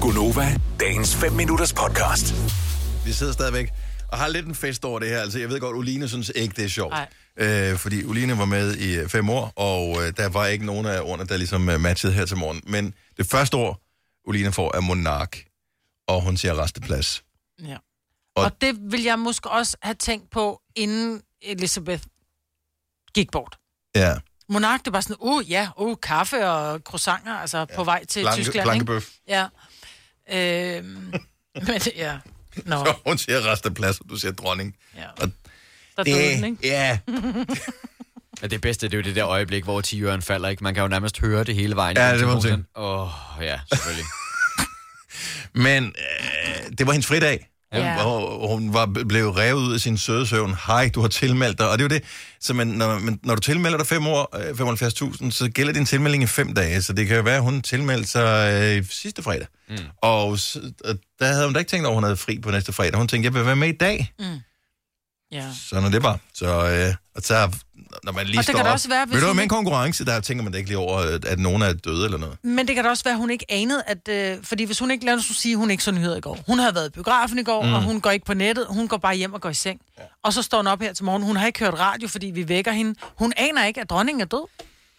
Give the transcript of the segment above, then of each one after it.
Gunova, dagens 5 minutters podcast. Vi sidder stadigvæk og har lidt en fest over det her. Altså, jeg ved godt, Uline synes ikke, det er sjovt. Nej. Øh, fordi Uline var med i øh, fem år, og øh, der var ikke nogen af ordene, der ligesom øh, matchede her til morgen. Men det første ord, Uline får, er monark, og hun siger resteplads. Ja. Og- Og, og det vil jeg måske også have tænkt på, inden Elisabeth gik bort. Ja, Monark, det er bare sådan, uh, ja, uh, kaffe og croissanter, altså ja. på vej til Planke, Tyskland, plankebøf. ikke? Ja. Øhm, men, ja. Nå, Og hun siger resteplads, og du siger dronning. ja. og Der døde den, ikke? ja, Men det bedste, det er jo det der øjeblik, hvor tiøren falder, ikke? Man kan jo nærmest høre det hele vejen. Ja, hjem det til må man Polen. sige. Åh, oh, ja, selvfølgelig. men øh, det var hendes fridag. Hun, Ja. og hun var blev revet ud af sin søde søvn. Hej, du har tilmeldt dig. Og det er jo det, så man, når, man, når du tilmelder dig fem år, øh, 75.000, så gælder din tilmelding i fem dage. Så det kan jo være, at hun tilmeldte sig øh, sidste fredag. Mm. Og, s- og der havde hun da ikke tænkt over, at hun havde fri på næste fredag. Hun tænkte, jeg vil være med i dag. Mm. Ja. Sådan er det bare. Så, øh, og så, når man lige Og det står kan da op, også være, hvis Ved du, hun med en ikke- konkurrence, der tænker man da ikke lige over, at- at nogen er døde eller noget. Men det kan da også være, at hun ikke anede, at... Øh, fordi hvis hun ikke lavede, så sige, at hun ikke så nyheder i går. Hun havde været i biografen i går, mm. og hun går ikke på nettet. Hun går bare hjem og går i seng. Ja. Og så står hun op her til morgen. Hun har ikke hørt radio, fordi vi vækker hende. Hun aner ikke, at dronningen er død.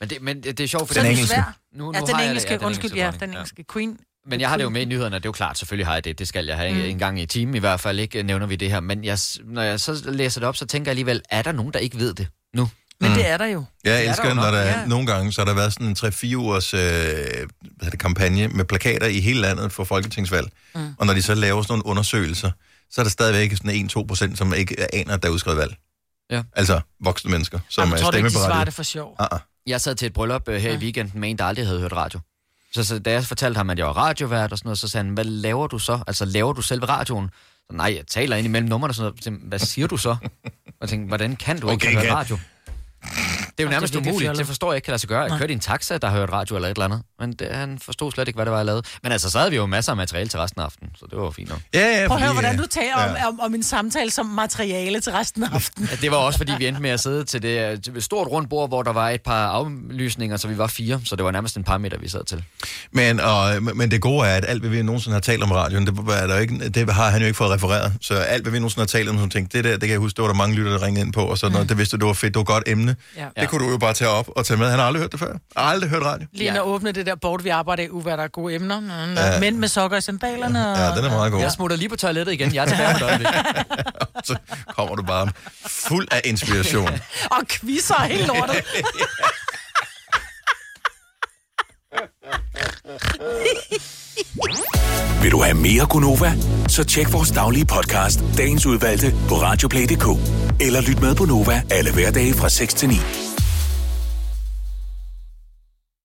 Men det, men det er sjovt, fordi... Så er det engelske. svært. Nu, nu Ja, har den jeg det. engelske, undskyld, ja, dronning. den engelske queen. Men jeg har det jo med i nyhederne, det er jo klart, selvfølgelig har jeg det, det skal jeg have mm. en gang i timen i hvert fald, ikke øh, nævner vi det her, men jeg, s- når jeg så læser det op, så tænker jeg alligevel, er der nogen, der ikke ved det nu? Men Mm. det er der jo. Jeg er elsker, der der jo når nok, der ja. ja. nogle gange, så har der været sådan en 3-4 ugers øh, hvad hedder det, kampagne med plakater i hele landet for folketingsvalg. Mm. Og når de så laver sådan nogle undersøgelser, så er der stadigvæk sådan 1-2 procent, som ikke aner, at der er udskrevet valg. Ja. Altså voksne mennesker, som Jamen, er tror du ikke, de svarer det stemmeberettigede. for sjov? Ah, ah. Jeg sad til et bryllup øh, her i weekenden med en, der aldrig havde hørt radio. Så, så da jeg fortalte ham, at jeg var radiovært og sådan noget, så sagde han, hvad laver du så? Altså, laver du selv radioen? Så, nej, jeg taler ind imellem numrene og sådan noget. Så, hvad siger du så? Og jeg tænkte, hvordan kan du Okay, ikke høre kan- radio? Det er jo er nærmest det virkelig umuligt. fjollet. Det forstår jeg ikke, kan lade sig gøre. Jeg kørte i en taxa, der hørte radio eller et eller andet. Men det, han forstod slet ikke, hvad det var, jeg lavede. Men altså, så havde vi jo masser af materiale til resten af aftenen, så det var jo fint nok. Ja, ja, Prøv at høre, fordi, hvordan øh, du taler om, om, om en samtale som materiale til resten af aftenen. Ja, det var også, fordi vi endte med at sidde til det øh, stort rundt bord, hvor der var et par aflysninger, så vi var fire, så det var nærmest en par meter, vi sad til. Men, og, men det gode er, at alt, hvad vi nogensinde har talt om radioen, det, er der jo ikke, det har han jo ikke fået refereret. Så alt, hvad vi nogensinde har talt om, som tænkte, det der, det kan jeg huske, det var der mange lytter, der ringede ind på, og sådan noget. Det vidste du var fedt, det var et godt emne. Ja. Det kunne du jo bare tage op og tage med. Han har aldrig hørt det før. Aldrig hørt radio. Lige Ja. ja. at åbne det der bord, vi arbejder i, uh, hvad der er gode emner. Nå, nå. Mænd med sokker i sandalerne. Ja, og- den er meget god. Jeg smutter lige på toilettet igen, jeg er tilbage om et øjeblik. Så kommer du bare fuld af inspiration. Og quizzer og hele lortet. Vil du have mere Gunova? Så tjek vores daglige podcast, dagens udvalgte, på radioplay.dk. Eller lyt med på Nova alle hverdage fra 6 til 9.